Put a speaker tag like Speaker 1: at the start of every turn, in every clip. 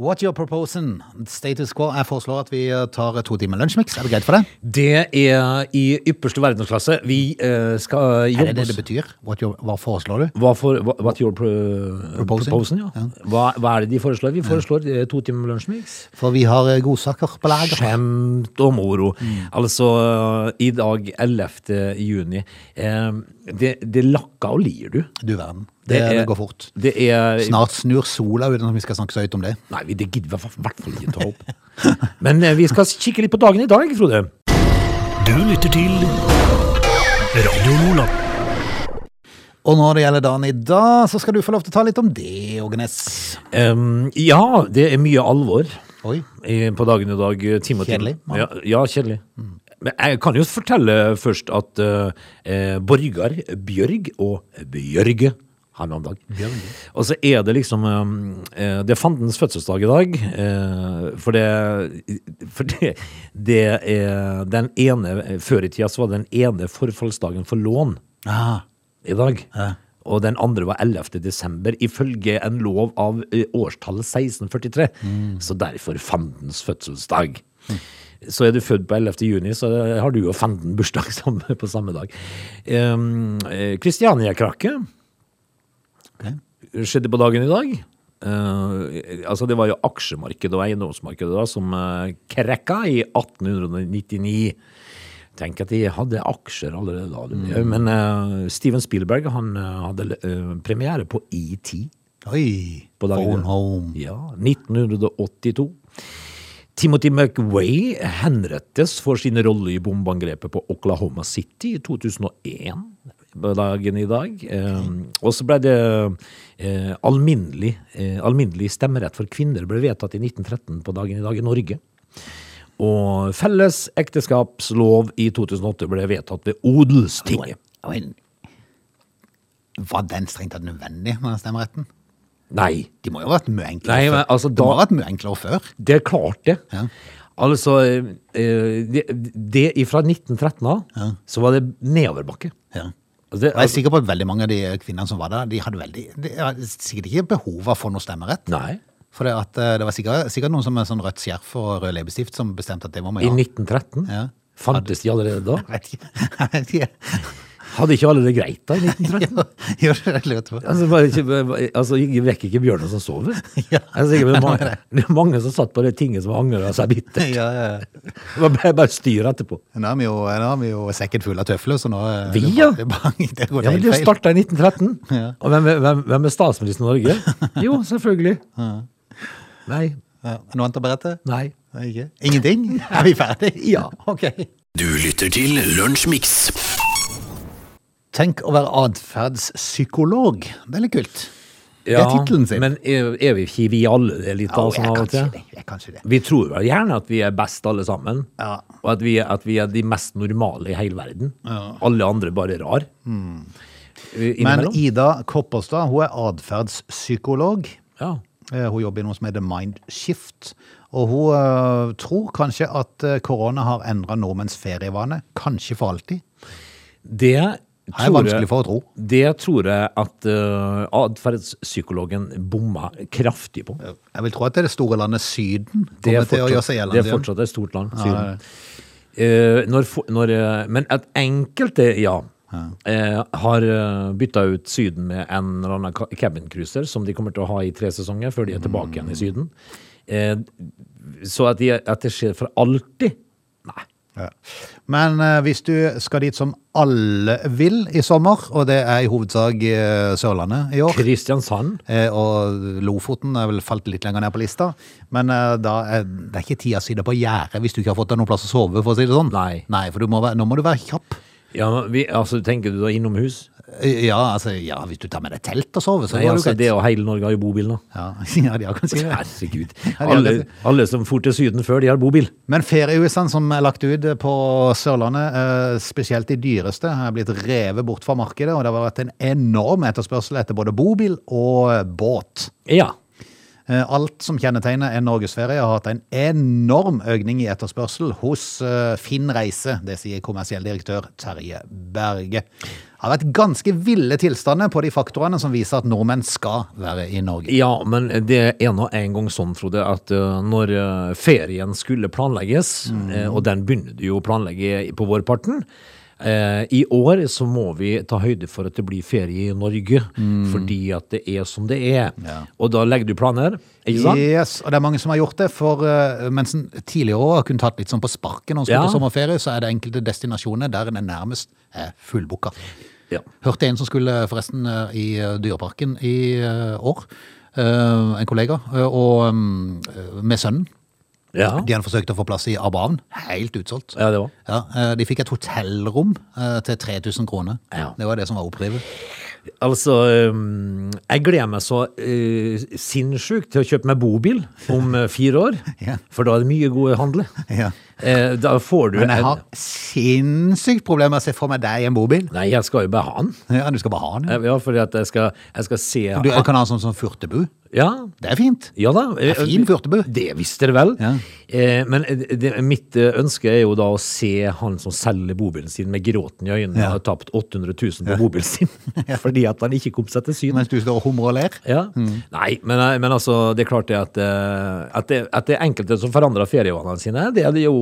Speaker 1: What you're proposing, status quo. Jeg foreslår at vi tar to timer Lunsjmix. Er det greit for deg?
Speaker 2: Det er i ypperste verdensklasse. Vi eh,
Speaker 1: Er det
Speaker 2: skal jobbe
Speaker 1: det det betyr? What you're, hva foreslår du?
Speaker 2: Hva for, hva, what you're pro-
Speaker 1: Proposing?
Speaker 2: proposing, eh, ja.
Speaker 1: Ja.
Speaker 2: Hva, hva er det de foreslår? Vi foreslår eh, to timer lunsjmix.
Speaker 1: For vi har eh, godsaker på lager.
Speaker 2: Skjemt og moro.
Speaker 1: Mm.
Speaker 2: Altså, eh, i dag 11. juni. Eh, det, det lakker og lir du.
Speaker 1: Du verden. Det, det går fort.
Speaker 2: Det er
Speaker 1: Snart snur sola uten at vi skal snakke så høyt om det.
Speaker 2: Nei, vi- det gidder vi i hvert fall ikke ta opp. Men eh, vi skal kikke litt på dagen i dag, Frode.
Speaker 3: Du lytter til Radio Lola.
Speaker 1: Og når det gjelder dagen i dag, så skal du få lov til å ta litt om det, Ågenes.
Speaker 2: Em, ja, det er mye alvor.
Speaker 1: Oi.
Speaker 2: i- på dagen i dag. eh, Time og time.
Speaker 1: Kjedelig, mann.
Speaker 2: Ja, ja, kjedelig. Men jeg kan jo fortelle først at eh, eh, Borgar Bjørg og Bjørge har navnedag. Og så er det liksom eh, eh, Det er fandens fødselsdag i dag. eh, for det, for det, det er den ene Før i tida så var det den ene forfallsdagen for lån
Speaker 1: Ah,
Speaker 2: i dag.
Speaker 1: Ja.
Speaker 2: Og den andre var 11. desember, ifølge en lov av eh, årstallet 1643. Så derfor fandens fødselsdag. Så er du født på 11. juni, så har du og fanden bursdag samme, på samme dag. Ehm, eh, Kristiania-krakke
Speaker 1: ok.
Speaker 2: skjedde på dagen i dag. Eh, altså Det var jo aksjemarkedet og eiendomsmarkedet da som eh, krekka i 1899. Tenk at de hadde aksjer allerede da. du. Men eh, Steven Spielberg han eh, hadde eh, premiere på ET.
Speaker 1: Oi.
Speaker 2: På dagen i dag.
Speaker 1: Phone home.
Speaker 2: Ja, 1982. Timothy McWay henrettes for sin rolle i bombeangrepet på Oklahoma City i 2001. på Dagen i dag. Eh, og så ble det eh, alminnelig, eh, alminnelig stemmerett for kvinner ble vedtatt i 1913 på dagen i dag i Norge. Og felles ekteskapslov i 2008 ble vedtatt ved Odelstinget.
Speaker 1: Oi. Var den strengt tatt nødvendig med den stemmeretten?
Speaker 2: Nei,
Speaker 1: De må jo ha vært mye enklere
Speaker 2: Nei,
Speaker 1: før.
Speaker 2: men altså,
Speaker 1: Det må
Speaker 2: da-
Speaker 1: ha vært mye enklere før.
Speaker 2: Det er klart det.
Speaker 1: Ja.
Speaker 2: Altså, eh, det, det fra 1913 av, så var det nedoverbakke.
Speaker 1: Ja.
Speaker 2: Altså, det-
Speaker 1: Og jeg er sikker på at veldig mange av de kvinnene som var der, de hadde veldig, de hadde sikkert ikke behov for noe stemmerett.
Speaker 2: Nei,
Speaker 1: For det, at, eh, det var sikkert, sikkert noen som med sånn rødt skjerf og rød leppestift som bestemte at det var med.
Speaker 2: i 1913
Speaker 1: Ja.
Speaker 2: fantes de allerede da.
Speaker 1: Jeg vet ikke. Jeg vet ikke.
Speaker 2: Hadde ikke alle det greit da i 1913?
Speaker 1: Jo, jo, det er lurt på.
Speaker 2: Altså, bare ikke, bare- altså jeg vekker ikke bjørnen som sover. Altså,
Speaker 1: Ja.
Speaker 2: Jeg er sikker på det er mange, det er mange som satt på det tinget som angret seg bittert.
Speaker 1: Ja, ja. ja.
Speaker 2: Det var bare, bare styr etterpå.
Speaker 1: Nå har vi jo, nå har vi jo sekken full av tøfler, så nå eh,
Speaker 2: Vi,
Speaker 1: det-
Speaker 2: ja.
Speaker 1: Det, bare- det går
Speaker 2: Ja, men
Speaker 1: helt
Speaker 2: det
Speaker 1: feil.
Speaker 2: startet i 1913.
Speaker 1: Ja.
Speaker 2: Og hvem, er- hvem, hvem er statsminister i Norge? Jo, selvfølgelig. Nei,
Speaker 1: Ja. Er det Noe annet å berette?
Speaker 2: nei.
Speaker 1: Nei, Ikke. Ingenting? Er vi ferdige?
Speaker 2: Ja.
Speaker 1: Ok.
Speaker 3: Du lytter til Lunsjmix.
Speaker 1: Tenk å være atferdspsykolog. Det er litt kult. Det er tittelen sin.
Speaker 2: Men er, er vi ikke vi alle det litt da,
Speaker 1: Ja,
Speaker 2: sånn
Speaker 1: jeg
Speaker 2: av
Speaker 1: kan
Speaker 2: og til?
Speaker 1: si det. Jeg kan si det.
Speaker 2: Vi tror vel gjerne at vi er best alle sammen,
Speaker 1: Ja.
Speaker 2: og at vi, er- at vi er de mest normale i hele verden. Alle andre bare rar. Eh,
Speaker 1: Hmm. Men
Speaker 2: Innimellom.
Speaker 1: Ida Kopperstad hun er atferdspsykolog.
Speaker 2: ja.
Speaker 1: Eh, Hun jobber i noe som heter Mindshift. Og hun eh, tror kanskje at eh, korona har endra nordmenns ferievane. Kanskje for alltid.
Speaker 2: Det
Speaker 1: Det er
Speaker 2: tror jeg-
Speaker 1: vanskelig for å tro.
Speaker 2: Det tror jeg at uh, atferdspsykologen bomma kraftig på.
Speaker 1: Jeg vil tro at det er det store landet Syden
Speaker 2: Det er
Speaker 1: kommer til å gjøre
Speaker 2: fortsatt,
Speaker 1: seg
Speaker 2: det
Speaker 1: gjeldende.
Speaker 2: er
Speaker 1: igjen.
Speaker 2: fortsatt et stort land.
Speaker 1: Ja,
Speaker 2: Syden. Eh, når, fo- når, eh, men at enkelte, ja, eh, har uh, bytta ut Syden med en eller annen ca- cabincruiser, som de kommer til å ha i tre sesonger før de er tilbake igjen i
Speaker 1: Mm.
Speaker 2: Syden. Eh, så at, de, at det skjer for alltid Nei.
Speaker 1: Ja. Men eh, hvis du skal dit som alle vil i sommer, og det er i hovedsak eh, Sørlandet i år
Speaker 2: Kristiansand?
Speaker 1: Eh, Og Lofoten er vel falt litt lenger ned på lista. Men eh, da er, det er ikke tida si det på gjerdet hvis du ikke har fått deg noen plass å sove. for å si det sånn.
Speaker 2: Nei.
Speaker 1: for du må være, Nå må du være kjapp.
Speaker 2: Ja, vi, altså, tenker du da innomhus?
Speaker 1: Eh, Ja, altså, ja, hvis du tar med deg telt og sover, så
Speaker 2: Nei,
Speaker 1: går
Speaker 2: altså,
Speaker 1: det
Speaker 2: det
Speaker 1: jo greit.
Speaker 2: og hele Norge har jo bobil nå.
Speaker 1: Ja, ja, de har kanskje det.
Speaker 2: Herregud.
Speaker 1: Ja, de har
Speaker 2: Alle,
Speaker 1: det.
Speaker 2: alle som for til Syden før, de har bobil.
Speaker 1: Men feriehusene som er lagt ut på Sørlandet, eh, spesielt de dyreste, har blitt revet bort fra markedet. Og det har vært en enorm etterspørsel etter både bobil og båt.
Speaker 2: Ja.
Speaker 1: Eh, Eh, Alt som kjennetegner en norgesferie, har hatt en enorm økning i etterspørsel hos eh, Finn Reise. Det sier kommersiell direktør Terje Berge. Det har vært ganske ville tilstander på de faktorene som viser at nordmenn skal være i Norge.
Speaker 2: Ja, men det er nå en gang sånn, Frode, at eh, når eh, ferien skulle planlegges, eh, og den begynner du jo å planlegge på vårparten, eh, i år så må vi ta høyde for at det blir ferie i Norge, fordi at det er som det er.
Speaker 1: Ja.
Speaker 2: Og da legger du planer, ikke sant?
Speaker 1: Yes, og det er mange som har gjort det, for eh, mens en tidligere år har kunnet tatt litt sånn på sparken når en skal
Speaker 2: Ja.
Speaker 1: på sommerferie, så er det enkelte destinasjoner der en er nærmest eh, er fullbooka.
Speaker 2: Ja.
Speaker 1: Hørte en som skulle forresten eh, i eh, dyreparken i eh, år, eh, en kollega, eh, og mm, eh, med sønnen.
Speaker 2: Ja.
Speaker 1: De hadde forsøkt å få plass i Abrahavn, helt utsolgt.
Speaker 2: Ja, det var.
Speaker 1: Ja, eh, de fikk et hotellrom eh, til 3000 kroner.
Speaker 2: Ja.
Speaker 1: Det var det som var opprivet.
Speaker 2: Altså, eh, jeg gleder meg så eh, sinnssykt til å kjøpe meg bobil om eh, fire år,
Speaker 1: Ja.
Speaker 2: for da er det mye gode handler.
Speaker 1: Ja.
Speaker 2: Eh, da får du
Speaker 1: Men jeg
Speaker 2: en...
Speaker 1: har sinnssykt problemer med å se for meg deg i en bobil.
Speaker 2: Nei, jeg skal jo bare ha den.
Speaker 1: Ja, du skal bare ha den. ja.
Speaker 2: Eh, Ja, fordi at jeg skal, jeg skal se
Speaker 1: Du jeg kan ha den som, som furtebu.
Speaker 2: Ja,
Speaker 1: Det er fint.
Speaker 2: ja da. Eh,
Speaker 1: Det er fin furtebu.
Speaker 2: Det visste dere vel.
Speaker 1: Ja.
Speaker 2: Eh, men det, mitt eh, ønske er jo da å se han som selger bobilen sin med gråten i øynene
Speaker 1: Ja.
Speaker 2: og har tapt 800 000 på bobilen sin fordi at han ikke kom seg til syn.
Speaker 1: Mens du står og humrer og ler.
Speaker 2: Ja.
Speaker 1: Mm.
Speaker 2: Nei, men, eh, men altså, det er klart det at, eh, at, det, at det er enkelte som forandrer ferievanene sine, det er det jo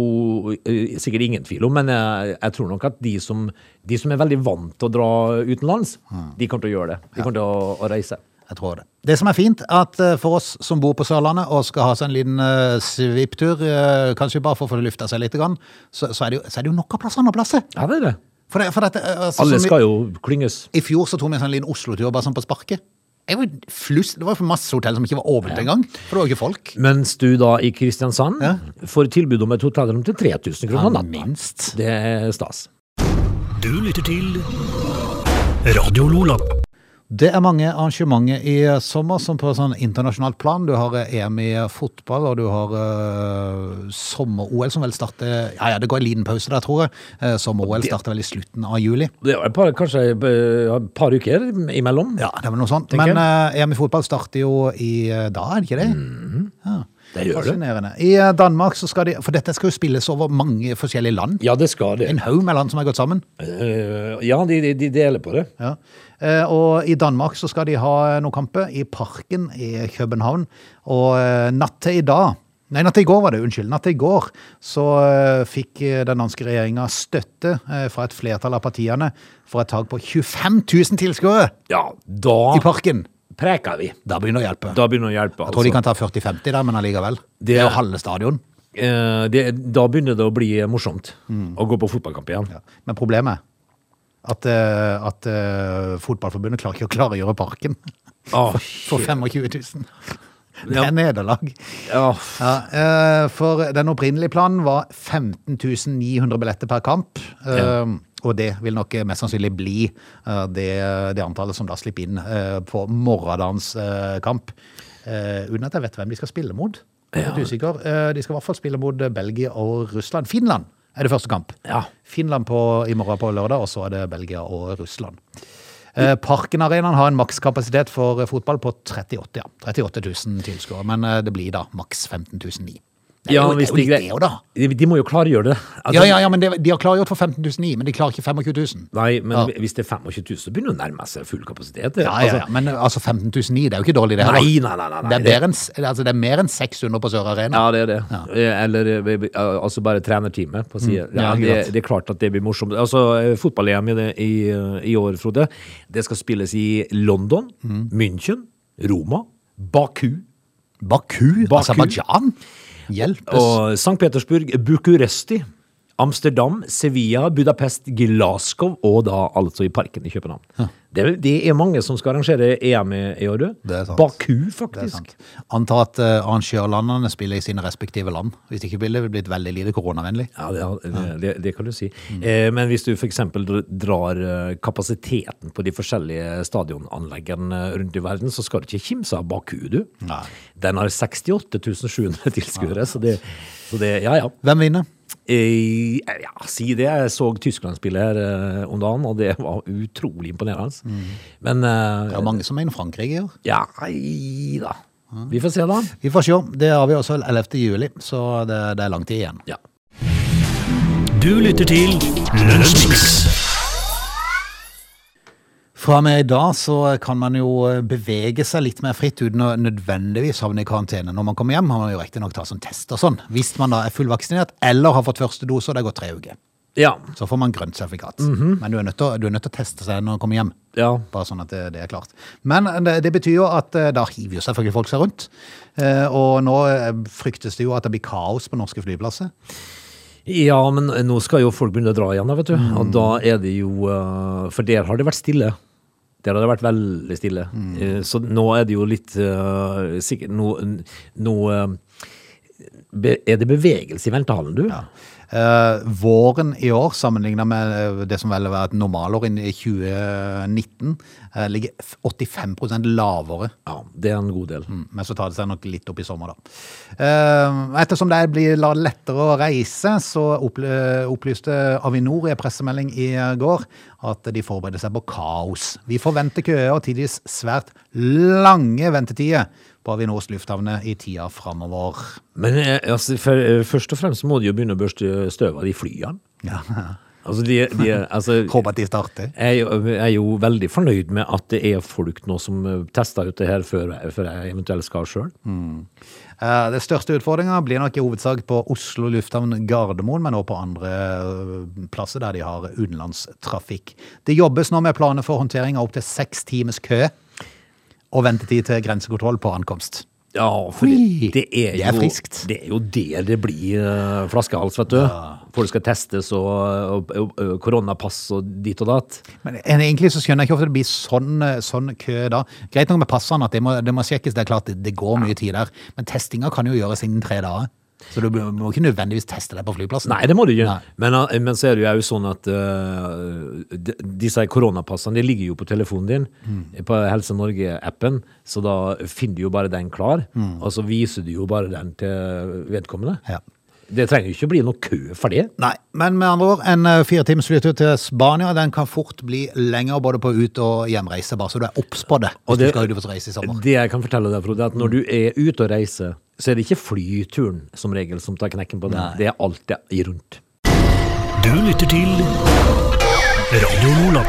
Speaker 2: eh, sikkert ingen tvil om, men eh, jeg tror nok at de som, de som er veldig vant til å dra utenlands, de kommer til å gjøre det. De kommer til å, å reise.
Speaker 1: Jeg tror det. Det som er fint, er at eh, for oss som bor på Sørlandet og skal ha seg en liten eh, svipptur, eh, kanskje bare for å få lufta seg litt, grann, så, så, er det jo, så er det jo nok av plass andre plasser.
Speaker 2: Ja, det er det.
Speaker 1: For det, for dette, eh, altså,
Speaker 2: Alle
Speaker 1: som vi-
Speaker 2: skal jo klynges.
Speaker 1: I fjor så tok vi en sånn liten Oslo-tur bare sånn på sparket. Jeg var flust, det var jo masse hotell som ikke var åpent engang, for det var jo ikke folk.
Speaker 2: Mens du da i Kristiansand
Speaker 1: Ja.
Speaker 2: får tilbud om et hotellrom til 3000 kroner
Speaker 1: Ja,
Speaker 2: natta.
Speaker 1: minst.
Speaker 2: Det er stas.
Speaker 3: Du lytter til Radio Lola.
Speaker 1: Det er mange arrangementer i sommer som på sånn internasjonalt plan. Du har eh, EM i fotball, og du har eh, sommer-OL som vel starter Ja, ja, det går en liten pause der, tror jeg. Eh, sommer-OL starter vel i slutten av juli.
Speaker 2: Det er et par, kanskje eh, et par uker imellom.
Speaker 1: Ja, det er vel noe sånt.
Speaker 2: Tenker
Speaker 1: Men eh, EM i fotball starter jo i eh, da, er det ikke det? Ja.
Speaker 2: Det gjør det.
Speaker 1: Fascinerende. I eh, Danmark så skal de For dette skal jo spilles over mange forskjellige land.
Speaker 2: Ja, det skal det.
Speaker 1: En haug med land som har gått sammen.
Speaker 2: Eh, Ja, de, de, de deler på det.
Speaker 1: Ja. Eh, Og i Danmark så skal de ha noen kamper i Parken i København. Og eh, natt til i dag Nei, natt til i går var det, unnskyld. Natt til i går så eh, fikk eh, den danske regjeringa støtte eh, fra et flertall av partiene for et tak på 25 000 tilskuere
Speaker 2: Ja, da
Speaker 1: i Parken.
Speaker 2: preker vi.
Speaker 1: Ah. Da begynner det å hjelpe.
Speaker 2: Da begynner det å hjelpe.
Speaker 1: Jeg tror de
Speaker 2: altså.
Speaker 1: kan ta 40-50 der, men allikevel. Det er jo halve stadion.
Speaker 2: Eh, det, da begynner det å bli eh, morsomt
Speaker 1: Mm.
Speaker 2: å gå på fotballkamp igjen.
Speaker 1: Ja. Men problemet er at, eh, at eh, Fotballforbundet klarer ikke å klargjøre parken
Speaker 2: Åh,
Speaker 1: for 25 000. Det er nederlag.
Speaker 2: ja.
Speaker 1: Ja, eh, for den opprinnelige planen var 15 900 billetter per kamp. eh,
Speaker 2: Ja.
Speaker 1: Og det vil nok eh, mest sannsynlig bli eh, det, det antallet som da slipper inn eh, på morgendagens eh, kamp. Eh, Uten at jeg vet hvem de skal spille mot. Jeg er litt usikker. Eh, De skal i hvert fall spille mot eh, Belgia og Russland. Finland er det første kamp.
Speaker 2: Ja.
Speaker 1: Finland på, i morgen på lørdag, og så er det Belgia og Russland. Eh, Parken Arenaen har en makskapasitet for eh, fotball på 38, ja. 38 000 tilskuere, men eh, det blir da maks 15 000 i. Det er
Speaker 2: Ja,
Speaker 1: jo- det
Speaker 2: hvis
Speaker 1: er jo
Speaker 2: de,
Speaker 1: litt det jo, da.
Speaker 2: de, de må jo klargjøre det. Altså,
Speaker 1: Ja, ja, ja, men det, De har klargjort for 15 000 i, men de klarer ikke 25 000.
Speaker 2: Nei, men
Speaker 1: Ja.
Speaker 2: hvis det er 25 000, så begynner det å nærme seg full kapasitet. det.
Speaker 1: Ja, ja, ja,
Speaker 2: Altså,
Speaker 1: men eh, altså 15 000 i, det er jo ikke dårlig, det her. da.
Speaker 2: Nei, nei, nei, nei, nei.
Speaker 1: Det er, bedre enn, s- altså, det er mer enn 600 på Sør Arena.
Speaker 2: ja, det er det. Eh, Eller eh, eh, altså bare trenerteamet på siden. Ja,
Speaker 1: Mm. Ja,
Speaker 2: det,
Speaker 1: akkurat.
Speaker 2: det er klart at det blir morsomt. Altså, eh, Fotball-EM i, det- i, eh, i år, Frode, det skal spilles i London,
Speaker 1: Mm.
Speaker 2: München, Roma, Baku
Speaker 1: Baku,
Speaker 2: Baku.
Speaker 1: Aserbajdsjan? Hjelpes.
Speaker 2: og St. Petersburg, Bucuresti, Amsterdam, Sevilla, Budapest, Glasgow og da altså i parken i København. Det, er- det er mange som skal arrangere EM i i år, du.
Speaker 1: Det er sant. Det
Speaker 2: Baku,
Speaker 1: er
Speaker 2: faktisk.
Speaker 1: sant. Anta at eh, arrangørlandene spiller i sine respektive land. Hvis ikke ville det blitt veldig lite koronavennlig.
Speaker 2: Ja, det, det, det, det kan du si. Eh, men hvis du f.eks. drar eh, kapasiteten på de forskjellige stadionanleggene eh, rundt i verden, så skal du ikke kimse av Baku, du.
Speaker 1: Nei.
Speaker 2: Den har 68 700 tilskuere, så, det- så det Ja, ja.
Speaker 1: Hvem vinner?
Speaker 2: Eh, ja. Si det. Jeg så Tyskland spille her eh, om dagen, og det var utrolig imponerende. Men eh,
Speaker 1: Det er jo mange som mener Frankrike i år.
Speaker 2: Ja, nei da. Vi får se, da.
Speaker 1: Vi får se. Det har vi også 11. juli, så det, det er lang tid igjen.
Speaker 2: Ja.
Speaker 3: Du lytter til Lunsjmix.
Speaker 1: Fra og med i dag så kan man jo eh, bevege seg litt mer fritt uten å nødvendigvis havne i karantene når man kommer hjem. Man må jo riktignok ta sånn test og sånn, hvis man da er fullvaksinert eller har fått første dose og det har gått tre uker.
Speaker 2: Ja.
Speaker 1: Så får man grønt sertifikat. Men du er, nødt til, å- du er nødt til å teste seg når man kommer hjem.
Speaker 2: ja.
Speaker 1: Bare sånn at det, det er klart. Men det, det betyr jo at eh, da hiver jo selvfølgelig folk seg rundt. Eh, Og nå eh, fryktes det jo at det blir kaos på norske flyplasser.
Speaker 2: Ja, men nå skal jo folk begynne å dra igjen, da, vet du. Og da er det jo eh, For der har det vært stille. Der har det vært veldig stille. Eh, Så nå er det jo litt eh, sikkert Nå, nå eh, be- er det bevegelse i ventehallen, du? Ja.
Speaker 1: Eh, våren i år, sammenlignet med eh, det som vel var et normalår inn i 2019, eh, ligger f- 85 lavere.
Speaker 2: det er en god del.
Speaker 1: Mm, Men så tar det seg nok litt opp i sommer, da. Eh, Ettersom det blir la- lettere å reise, så opple- opplyste Avinor i en pressemelding i går at de forbereder seg på kaos. Vi forventer køer og tidvis svært lange ventetider på Avinors lufthavner i tida framover.
Speaker 2: Men eh, altså, for, eh, først og fremst må de jo begynne å børste støv av de flyene.
Speaker 1: Ja.
Speaker 2: Altså, de, de, altså,
Speaker 1: Håper at de starter.
Speaker 2: Jeg er jo- jeg er jo veldig fornøyd med at det er folk nå som eh, tester ut det her før, jeg- før jeg eventuelt skal sjøl.
Speaker 1: Eh, Det største utfordringa blir nok i hovedsak på Oslo lufthavn Gardermoen, men også på andre eh, plasser der de har utenlandstrafikk. Det jobbes nå med planer for håndtering av opptil seks times kø og ventetid til grensekontroll på ankomst.
Speaker 2: Ja, for
Speaker 1: Hui.
Speaker 2: det, det, er
Speaker 1: Det
Speaker 2: jo,
Speaker 1: er friskt.
Speaker 2: Det er jo der det blir eh, flaskehals, vet du. Folk skal testes og, og, og, og koronapass og dit og datt.
Speaker 1: Men en- egentlig så skjønner jeg ikke hvorfor det blir sånn, eh, sånn kø da. Greit nok med passene at det må, det må sjekkes, det er klart det, det går mye tid der. Men testinga kan jo gjøres innen tre dager. Så du må ikke nødvendigvis teste deg på flyplassen.
Speaker 2: Nei, det må du ikke.
Speaker 1: Nei.
Speaker 2: Men, eh, men så er det jo også sånn at eh, de, disse koronapassene de ligger jo på telefonen din,
Speaker 1: Mm.
Speaker 2: på Helse Norge-appen, så da finner du jo bare den klar,
Speaker 1: Mm.
Speaker 2: og så viser du jo bare den til vedkommende.
Speaker 1: Ja.
Speaker 2: Det trenger jo ikke bli noe kø for det.
Speaker 1: Nei, men med andre ord, en eh, fire times flytur til Spania, den kan fort bli lengre både på ut- og hjemreise, bare så du er obs på det hvis
Speaker 2: Og det-
Speaker 1: du skal ut og reise i sommer.
Speaker 2: Det jeg kan fortelle deg, Frode, er at når du er ute og reiser, så er det ikke flyturen som regel som tar knekken på deg. Det er alt det i rundt.
Speaker 3: Du lytter til Radio Lola.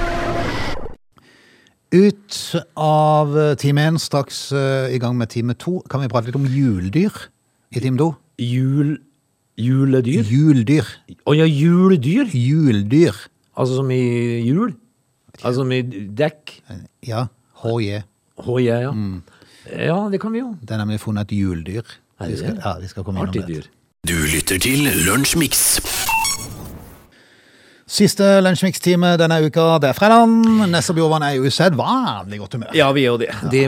Speaker 1: Ut av eh, time én, straks eh, i gang med time to, kan vi prate litt om juldyr i time to?
Speaker 2: Jul... Juledyr?
Speaker 1: Juldyr.
Speaker 2: Å ja, juledyr!
Speaker 1: Juldyr.
Speaker 2: Altså som i jul? Altså som i dekk?
Speaker 1: Ja, HJ.
Speaker 2: HJ, ja. Ja, det kan vi jo.
Speaker 1: Det er nemlig funnet et juldyr. Vi skal, ja, vi skal komme
Speaker 2: Artig
Speaker 1: innom det.
Speaker 2: dyr.
Speaker 3: Du lytter til Lunsjmix.
Speaker 1: Siste lunsjmikstime denne uka, det er fredag. Nesse Bjorvann er i usedvanlig godt humør.
Speaker 2: Ja, vi er jo det. Det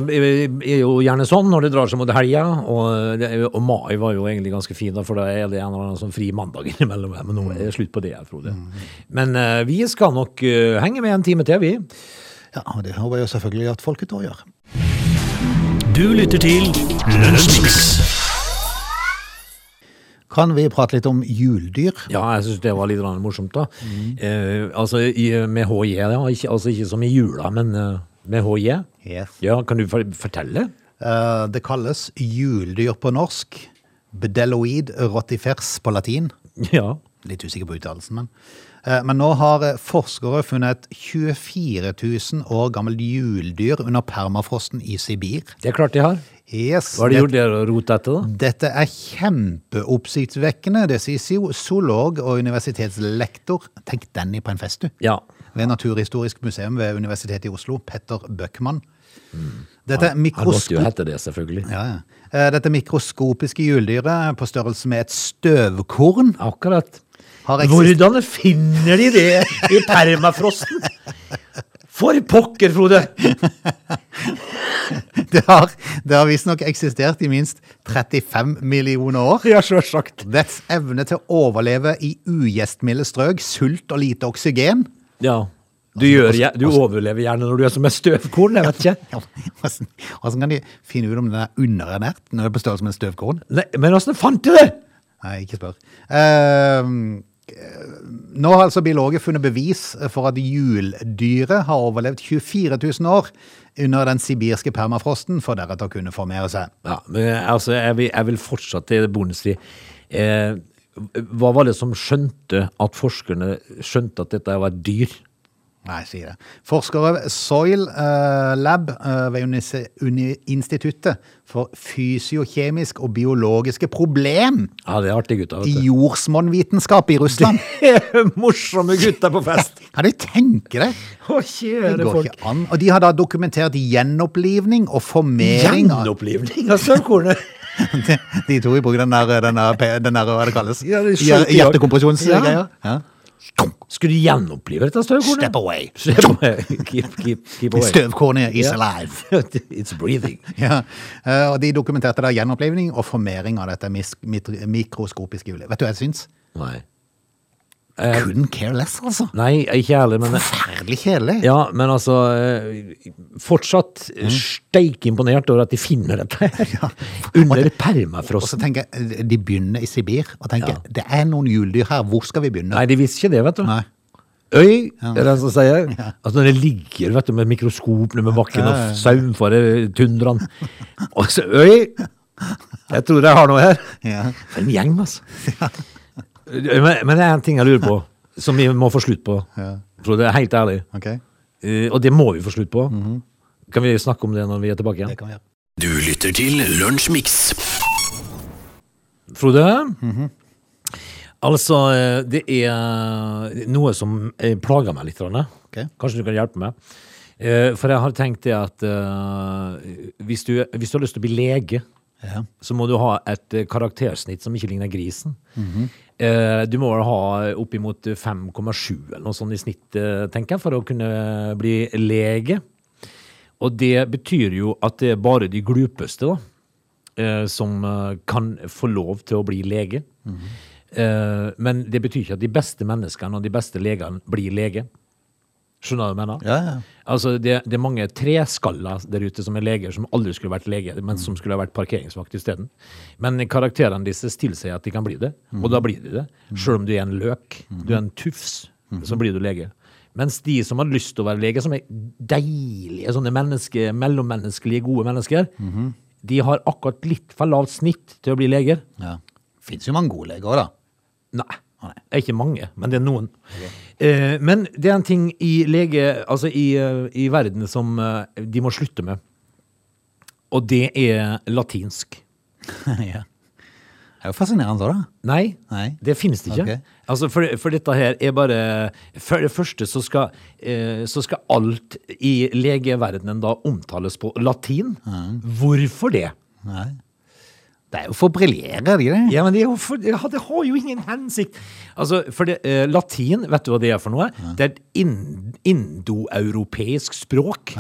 Speaker 2: er jo gjerne sånn når det drar seg mot helga, og, det er jo- og mai var jo egentlig ganske fin, da, for da er det en eller annen sånn fri mandag innimellom. her, Men nå er det slutt på det her, Frode. Men eh, vi skal nok eh, henge med en time til, vi.
Speaker 1: Ja, og det håper jeg jo selvfølgelig at folket tør gjøre.
Speaker 3: Du lytter til Lunsjmix.
Speaker 1: Kan vi prate litt om juldyr?
Speaker 2: Ja, jeg syns det var litt grann morsomt, da. Eh, altså i, med HJ, ja. Ikke, altså ikke som i jula, men eh, med HJ.
Speaker 1: Yes.
Speaker 2: Ja, kan du for, fortelle?
Speaker 1: Eh, det kalles juldyr på norsk. Bedeloid rotifers på latin.
Speaker 2: Ja.
Speaker 1: Litt usikker på uttalelsen, men. Eh, men nå har eh, forskere funnet et 24 000 år gammelt juldyr under permafrosten i Sibir.
Speaker 2: Det er klart de har.
Speaker 1: Yes,
Speaker 2: Hva har de
Speaker 1: det-
Speaker 2: gjort der og rotet etter, da?
Speaker 1: Dette er kjempeoppsiktsvekkende, det sier zo- zoolog og universitetslektor. Tenk den i på en fest, du.
Speaker 2: Ja.
Speaker 1: ved Naturhistorisk museum ved Universitetet i Oslo, Petter Bøckmann. Dette er
Speaker 2: Han måtte
Speaker 1: mikroskop...
Speaker 2: jo hete det, selvfølgelig.
Speaker 1: Ja, ja. Eh, Dette mikroskopiske hjuldyret på størrelse med et støvkorn
Speaker 2: Akkurat.
Speaker 1: har eksistert
Speaker 2: Hvordan finner de det i permafrosten? For pokker, Frode!
Speaker 1: Det har, det har visstnok eksistert i minst 35 millioner år.
Speaker 2: Ja, sjølsagt.
Speaker 1: Dets evne til å overleve i ugjestmilde strøk, sult og lite oksygen
Speaker 2: Ja. Du, gjør, gjer- du overlever gjerne når du er som et støvkorn, jeg vet ikke.
Speaker 1: Ja, Hvordan hvordan kan de finne ut om den er underernært når det er på størrelse med et støvkorn?
Speaker 2: Nei, men åssen fant de det?
Speaker 1: Nei, ikke spør. Ehm, Nå har altså biologer funnet bevis for at juldyret har overlevd 24 000 år under den sibirske permafrosten for deretter å kunne formere seg.
Speaker 2: Ja, men altså, jeg vil, jeg vil fortsatt til Bondens tid. Eh, hva var det som skjønte at forskerne skjønte at dette var et dyr?
Speaker 1: Nei, si det. Forskere ved Soil eh, Lab eh, ved Unise- Uni Instituttet for fysiokjemisk og biologiske problem
Speaker 2: Ja, det er artige gutter.
Speaker 1: i
Speaker 2: vet
Speaker 1: jordsmonnvitenskap i Russland.
Speaker 2: du. Morsomme gutter på fest!
Speaker 1: Kan du tenke deg?
Speaker 2: Å,
Speaker 1: Det
Speaker 2: kjære
Speaker 1: går
Speaker 2: folk.
Speaker 1: ikke an. Og de har da dokumentert gjenopplivning og formering av
Speaker 2: Gjenopplivning av søvnkornet!
Speaker 1: De to i bruk den der, den der, pe- den der hva det kalles?
Speaker 2: Ja, det er
Speaker 1: Hjer-
Speaker 2: skjønt i dag.
Speaker 1: Hjertekompresjonsgreier. Ja.
Speaker 2: Skulle du gjenopplive dette støvkornet?
Speaker 1: Step away.
Speaker 2: Step away. Keep, keep, keep away.
Speaker 1: Støvkornet is
Speaker 2: Ja.
Speaker 1: alive.
Speaker 2: It's breathing.
Speaker 1: Ja. eh, Og de dokumenterte da gjenopplivning og formering av dette mis- mit- mikroskopiske hjulet. Vet du hva jeg syns?
Speaker 2: Nei. Eh.
Speaker 1: Couldn't care less, altså.
Speaker 2: Nei, ikke jeg heller, men
Speaker 1: Forferdelig kjedelig.
Speaker 2: Ja, men altså eh, Fortsatt
Speaker 1: Mm.
Speaker 2: steik imponert over at de finner dette her. Under
Speaker 1: Og så
Speaker 2: permafrosten.
Speaker 1: tenker jeg, eh, De begynner i Sibir og tenker det er noen hjuldyr her, hvor skal vi begynne?
Speaker 2: Nei, de visste ikke det, vet du.
Speaker 1: Nei.
Speaker 2: Øy, er det en som sier. Altså når det ligger vet du, med mikroskop ned med bakken
Speaker 1: Ja, ja, ja.
Speaker 2: og saumfarer tundraen. Og så Øy! Jeg tror jeg har noe her.
Speaker 1: Ja.
Speaker 2: For en gjeng, altså. Eh, Men, men det er en ting jeg lurer på, som vi må få slutt på. Frode, helt ærlig.
Speaker 1: Ok,
Speaker 2: Eh, Og det må vi få slutt på.
Speaker 1: Mhm.
Speaker 2: Kan vi snakke om det når vi er tilbake igjen?
Speaker 1: det kan vi gjøre.
Speaker 3: Du lytter til Lunsjmix.
Speaker 2: Frode. Altså, eh, det er noe som eh, plager meg litt. Rane.
Speaker 1: Ok.
Speaker 2: Kanskje du kan hjelpe meg. Eh, For jeg har tenkt det at eh, hvis du, hvis du har lyst til å bli lege,
Speaker 1: Ja.
Speaker 2: så må du ha et eh, karaktersnitt som ikke ligner grisen. Eh, Du må vel ha oppimot 5,7 eller noe sånt i snitt, eh, tenker jeg, for å kunne bli lege. Og det betyr jo at det er bare de glupeste da, eh, som eh, kan få lov til å bli lege. Eh, Men det betyr ikke at de beste menneskene og de beste legene blir lege. Skjønner du hva jeg mener?
Speaker 1: Ja, ja.
Speaker 2: Altså, det, det er mange treskaller der ute som er leger, som aldri skulle vært lege, men som skulle ha vært parkeringsvakt isteden. Men karakterene deres tilsier at de kan bli det, og da blir de det. Selv om du er en løk, du er en tufs, så blir du lege. Mens de som har lyst til å være lege, som er deilige sånne menneske, mellommenneskelige, gode mennesker, de har akkurat litt for lavt snitt til å bli leger.
Speaker 1: ja. Fins jo mange gode leger òg, da.
Speaker 2: Nei. Det er ikke mange, men det er noen. Eh, men det er en ting i lege, altså i, eh, i verden som eh, de må slutte med. Og det er latinsk.
Speaker 1: ja. Det er jo fascinerende òg, da.
Speaker 2: Nei,
Speaker 1: Nei.
Speaker 2: det finnes det ikke.
Speaker 1: Ok.
Speaker 2: Altså for, for dette her er bare For det første så skal, eh, så skal alt i legeverdenen da omtales på latin. Hvorfor det?
Speaker 1: Nei. Det er jo for å briljere, er det ikke det?
Speaker 2: Ja, men det, er jo for, ja, det har jo ingen hensikt. Altså, for det, eh, latin, vet du hva det er for noe? Det er et ind indoeuropeisk språk.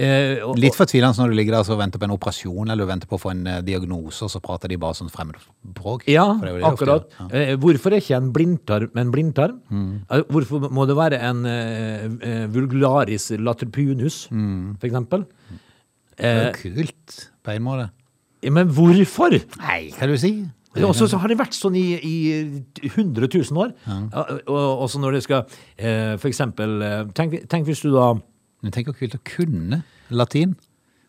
Speaker 2: Eh, og,
Speaker 1: Litt fortvilende når du ligger der og så venter på en operasjon eller du venter på å få en eh, diagnose, og så prater de bare sånn fremmedspråk.
Speaker 2: Ja,
Speaker 1: For det er jo det de ofte
Speaker 2: akkurat.
Speaker 1: gjør.
Speaker 2: Eh, Hvorfor er ikke en blindtarm en blindtarm?
Speaker 1: Mm.
Speaker 2: Eh, Hvorfor må det være en eh, eh, vulgularis latrupunus,
Speaker 1: Mm.
Speaker 2: for eksempel?
Speaker 1: Det er jo kult, på en måte.
Speaker 2: Eh, Men hvorfor?
Speaker 1: Nei, kan du si?
Speaker 2: Ja, Og så så har det vært sånn i, i 100 000 år. Ja, Og også når det skal eh, For eksempel eh, Tenk, tenk hvis du da
Speaker 1: Men tenk hvor kult å kunne latin.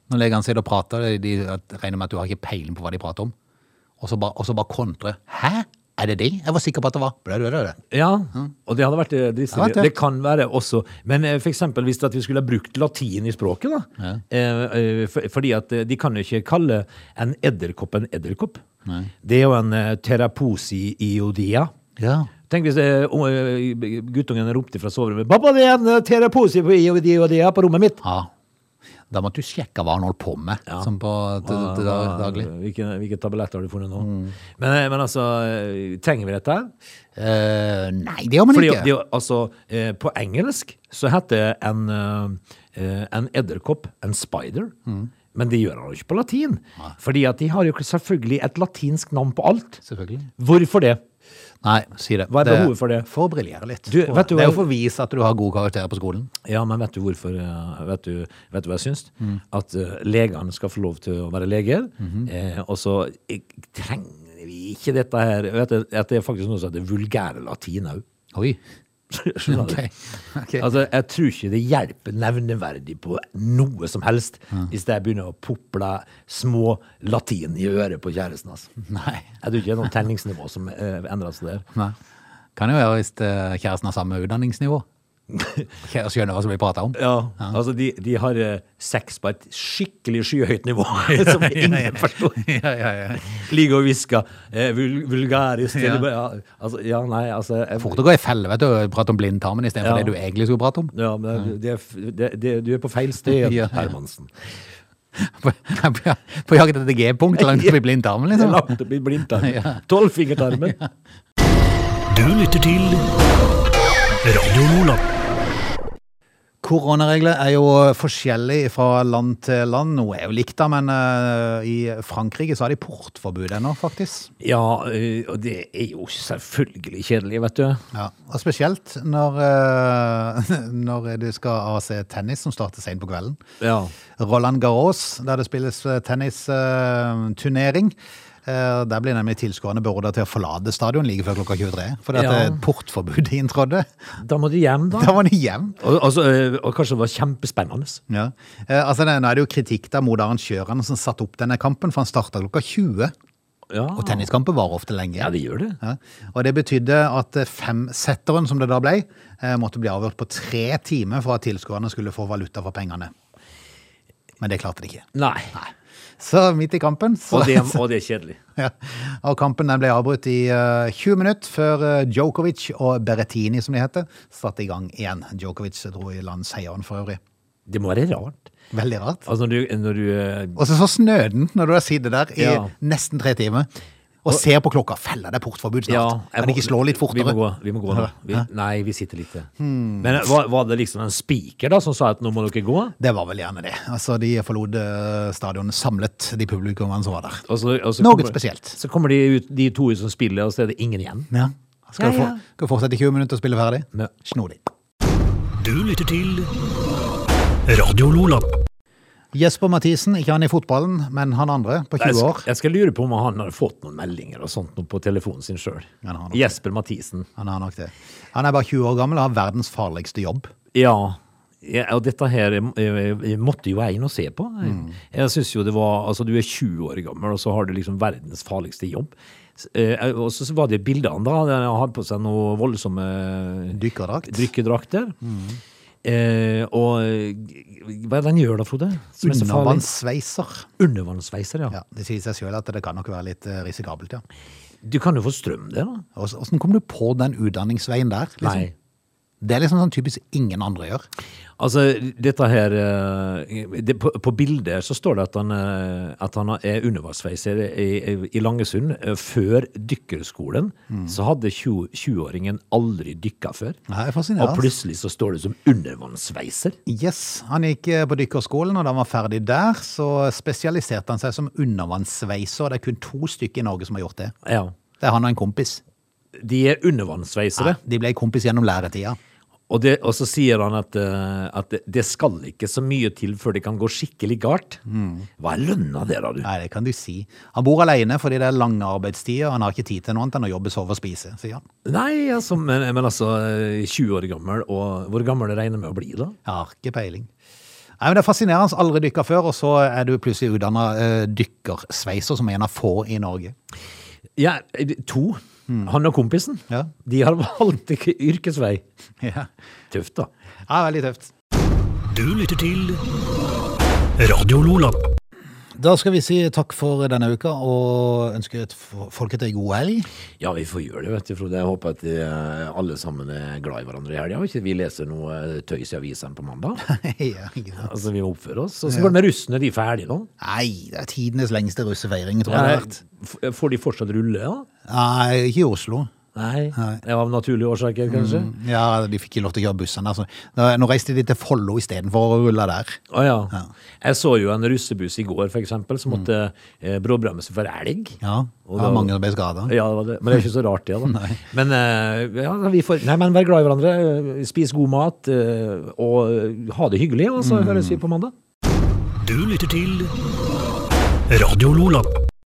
Speaker 1: Når legene sitter og prater, de de regner med at du har ikke peiling på hva de prater om. Og så bare, og så bare kontre. Hæ? Er det det? Jeg var sikker på at det var Ble det det? det?
Speaker 2: Ja, og det hadde vært eh,
Speaker 1: Det
Speaker 2: dristig.
Speaker 1: hadde vært
Speaker 2: Det, kan være også Men eh, for eksempel hvis at vi skulle ha brukt latin i språket, da. eh, eh, for- Fordi at eh, de kan jo ikke kalle en edderkopp en edderkopp. Det er jo en eh, teraposi iodia.
Speaker 1: Ja.
Speaker 2: Tenk hvis eh, o- eh, guttungen ropte fra soverommet 'Pappa, det er en eh, teraposi på iodia på rommet mitt!'
Speaker 1: ja. Da måtte du sjekke hva han holdt på med,
Speaker 2: Ja.
Speaker 1: som på til, til
Speaker 2: Hva-
Speaker 1: daglig. Mm.
Speaker 2: Hvilke, hvilke tabletter har du funnet nå? Men, eh, men altså, eh, trenger vi dette? her?
Speaker 1: Eh, nei, det gjør man
Speaker 2: Fordi
Speaker 1: ikke.
Speaker 2: det, altså, eh, på engelsk så heter en, eh, en edderkopp en spider,
Speaker 1: Mm.
Speaker 2: men det gjør han jo ikke på latin. Fordi at de har jo ikke selvfølgelig et latinsk navn på alt.
Speaker 1: Selvfølgelig.
Speaker 2: Hvorfor det?
Speaker 1: Nei, si det.
Speaker 2: Hva er behovet for det?
Speaker 1: For å briljere litt.
Speaker 2: Du, vet du
Speaker 1: det er
Speaker 2: hva-
Speaker 1: jo for å vise at du har gode karakterer på skolen.
Speaker 2: Ja, men vet du hvorfor eh, Vet du, vet du hva jeg syns?
Speaker 1: Mm. Mhm.
Speaker 2: At eh, legene skal få lov til å være leger, eh, og så eh, trenger mener vi ikke dette her. Vet du, at det er faktisk noe som heter vulgære latin òg.
Speaker 1: Oi.
Speaker 2: Skjønner du?
Speaker 1: Ok. Ok.
Speaker 2: Altså, jeg tror ikke det hjelper nevneverdig på noe som helst hvis jeg begynner å pople små latin i øret på kjæresten. Altså.
Speaker 1: Nei.
Speaker 2: Jeg tror ikke det er noe tenningsnivå som eh, endrer seg der.
Speaker 1: Nei. Kan jo være hvis eh, kjæresten har samme utdanningsnivå. Jeg skjønner hva som blir prata om.
Speaker 2: Ja, altså de, de har eh, sex på et skikkelig skyhøyt nivå som ingen forstår.
Speaker 1: ja, ja, ja.
Speaker 2: Ligger og hvisker eh, vul vulgærisk.
Speaker 1: Ja.
Speaker 2: eller bare, Ja. Altså, ja, nei, altså jeg,
Speaker 1: Fort å gå i felle vet du, og prate om blindtarmen istedenfor
Speaker 2: Ja.
Speaker 1: det du egentlig skulle prate om.
Speaker 2: ja, men det, er f- det, det, Du er på feil sted,
Speaker 1: Ja.
Speaker 2: Hermansen.
Speaker 1: På jakt etter G-punkt langt oppi blindtarmen,
Speaker 2: Det er
Speaker 1: liksom.
Speaker 2: langt oppi blindtarmen. Tolvfingertarmen.
Speaker 3: Du lytter til Radio Lola.
Speaker 1: Koronaregler er jo forskjellig fra land til land. Noe er jo likt, da, men eh, i Frankrike så har de portforbud ennå, faktisk.
Speaker 2: Ja, eh, og det er jo selvfølgelig kjedelig, vet du.
Speaker 1: Ja. Og spesielt når, eh, når du skal AC tennis, som starter seint på kvelden.
Speaker 2: Ja.
Speaker 1: Roland Garros, der det spilles eh, tennisturnering. eh, Der blir nemlig tilskuerne beordret til å forlate stadion like før klokka 23. Fordi at
Speaker 2: Ja.
Speaker 1: eh, portforbudet inntrådte.
Speaker 2: Da må du hjem, da.
Speaker 1: Da var de hjem.
Speaker 2: Og, altså, eh, og kanskje det var kjempespennende.
Speaker 1: Ja. Eh, Altså, det- nå er det jo kritikk da mot arrangørene som satte opp denne kampen, for han starta klokka 20.
Speaker 2: Ja.
Speaker 1: Og tenniskamper varer ofte lenge.
Speaker 2: Ah. Ja, det gjør det.
Speaker 1: Ja. Og det betydde at eh, femsetteren, som det da ble, eh, måtte bli avgjort på tre timer for at tilskuerne skulle få valuta for pengene. Men det klarte de ikke.
Speaker 2: Nei.
Speaker 1: Så midt i kampen så,
Speaker 2: Og det, og det er kjedelig.
Speaker 1: Ja. Og kampen den ble avbrutt i eh, 20 minutter før eh, Djokovic og Berrettini, som de heter, satte i gang igjen. Djokovic dro i land seieren for øvrig.
Speaker 2: Det må være rart.
Speaker 1: Veldig rart.
Speaker 2: Altså, når du, når du eh,
Speaker 1: Og så så snødent når du har sittet der i
Speaker 2: Ja.
Speaker 1: nesten tre timer og ser på klokka. Feller det er portforbud snart?
Speaker 2: jeg
Speaker 1: kan de
Speaker 2: må-
Speaker 1: ikke slå litt fortere?
Speaker 2: Vi må gå, vi må gå nå. Vi, nei, vi sitter litt til. Men var, var det liksom en spiker da som sa at nå må dere gå?
Speaker 1: Det var vel gjerne det. Altså, de forlot eh, stadionet samlet, de publikummene som var der.
Speaker 2: Og så, og så
Speaker 1: Noe
Speaker 2: kommer-
Speaker 1: spesielt.
Speaker 2: Så kommer de ut, de to ut som spiller, og så er det ingen igjen.
Speaker 1: Ja. Skal,
Speaker 2: Ja,
Speaker 1: Du
Speaker 2: ja.
Speaker 1: få, skal du fortsette i 20 minutter og spille ferdig?
Speaker 2: Ja.
Speaker 1: Snodig.
Speaker 3: Du lytter til Radio Lola.
Speaker 1: Jesper Mathisen, ikke han i fotballen, men han andre på 20
Speaker 2: Jeg
Speaker 1: år.
Speaker 2: skal, jeg skal lure på om han har fått noen meldinger og sånt nå på telefonen sin sjøl.
Speaker 1: Han har nok det.
Speaker 2: Jesper Mathisen.
Speaker 1: Han er nok det. Han er bare 20 år gammel og har verdens farligste jobb.
Speaker 2: Ja. ja, og dette her eh, måtte jo jeg inn og se på.
Speaker 1: Mm.
Speaker 2: Jeg synes jo det var, altså Du er 20 år gammel, og så har du liksom verdens farligste jobb. S- eh, Og så var det bildene, da. Han hadde på seg noen voldsomme
Speaker 1: Dykkerdrakt. Mm.
Speaker 2: Drykkerdrakter. Eh, og eh, hva er det han gjør da, Frode? Som er så farlig?
Speaker 1: Undervannssveiser.
Speaker 2: Undervannssveiser, ja.
Speaker 1: Ja, det sier seg sjøl at det kan nok være litt eh, risikabelt, ja.
Speaker 2: Du kan jo få strøm der, da.
Speaker 1: Og så- Hvordan kom du på den utdanningsveien der? Liksom?
Speaker 2: Nei.
Speaker 1: Det er liksom sånn typisk ingen andre gjør.
Speaker 2: Altså, dette her eh, det, på, på bildet så står det at han, eh, at han er undervannsveiser i, i- i Langesund. Eh, Før dykkerskolen så hadde 20 20-åringen aldri dykka før.
Speaker 1: Nei, det er
Speaker 2: Og
Speaker 1: fascinerende.
Speaker 2: plutselig så står det som undervannsveiser.
Speaker 1: Yes, Han gikk eh, på dykkerskolen, og da han var ferdig der, så spesialiserte han seg som undervannssveiser. Det er kun to stykker i Norge som har gjort det.
Speaker 2: Ja.
Speaker 1: Det er han og en kompis.
Speaker 2: De er undervannsveisere.
Speaker 1: De ble kompis gjennom læretida.
Speaker 2: Og, det, og så sier han at, eh, at det- det skal ikke så mye til før det kan gå skikkelig galt. Hva er lønna der, da, du?
Speaker 1: Nei, det kan du si. Han bor alene fordi det er lange arbeidstider, og han har ikke tid til noe annet enn å jobbe, sove og spise, sier han.
Speaker 2: Nei, altså, men, men altså eh, 20 år gammel, og hvor gammel regner med å bli, da?
Speaker 1: Jeg har ikke peiling. Nei, men Det er fascinerende. Aldri dykka før, og så er du plutselig utdanna eh, dykkersveiser, som en av få i Norge.
Speaker 2: Ja, eh, to. Han og kompisen.
Speaker 1: Ja.
Speaker 2: De har valgt ikke yrkesvei.
Speaker 1: Ja,
Speaker 2: Tøft, da.
Speaker 1: ja veldig tøft.
Speaker 3: Du lytter til Radio Lola.
Speaker 1: Da skal vi si takk for denne uka, og ønske et- folket ei god helg.
Speaker 2: Ja, vi får gjøre det, vet du, Frode. Jeg håper at eh, alle sammen er glad i hverandre i helga, og ikke vi leser noe eh, tøys i avisen på mandag.
Speaker 1: ja, ikke sant.
Speaker 2: Altså, vi oppfører oss. Og så går det med russene, de er ferdige nå.
Speaker 1: Nei, det er tidenes lengste russefeiring, tror jeg det har vært.
Speaker 2: F- Får de fortsatt rulle, da?
Speaker 1: Nei, ikke i Oslo.
Speaker 2: Nei. Ja, Av naturlige årsaker, kanskje?
Speaker 1: Mm. Ja, De fikk ikke lov til å kjøre bussene. Altså. Da- Nå reiste de til Follo istedenfor å rulle der.
Speaker 2: Å ja. Jeg så jo en russebuss i går, for eksempel, som måtte eh, bråbremse for elg.
Speaker 1: Ja,
Speaker 2: Og
Speaker 1: det var
Speaker 2: da-
Speaker 1: mange som ble skada.
Speaker 2: Ja, det var det. Men det er ikke så rart, det. da. Men, eh, ja, vi får, nei, men vær glad i hverandre, eh, spis god mat, eh, og eh, ha det hyggelig. Og så høres vi på mandag.
Speaker 3: Du lytter til Radio Lola.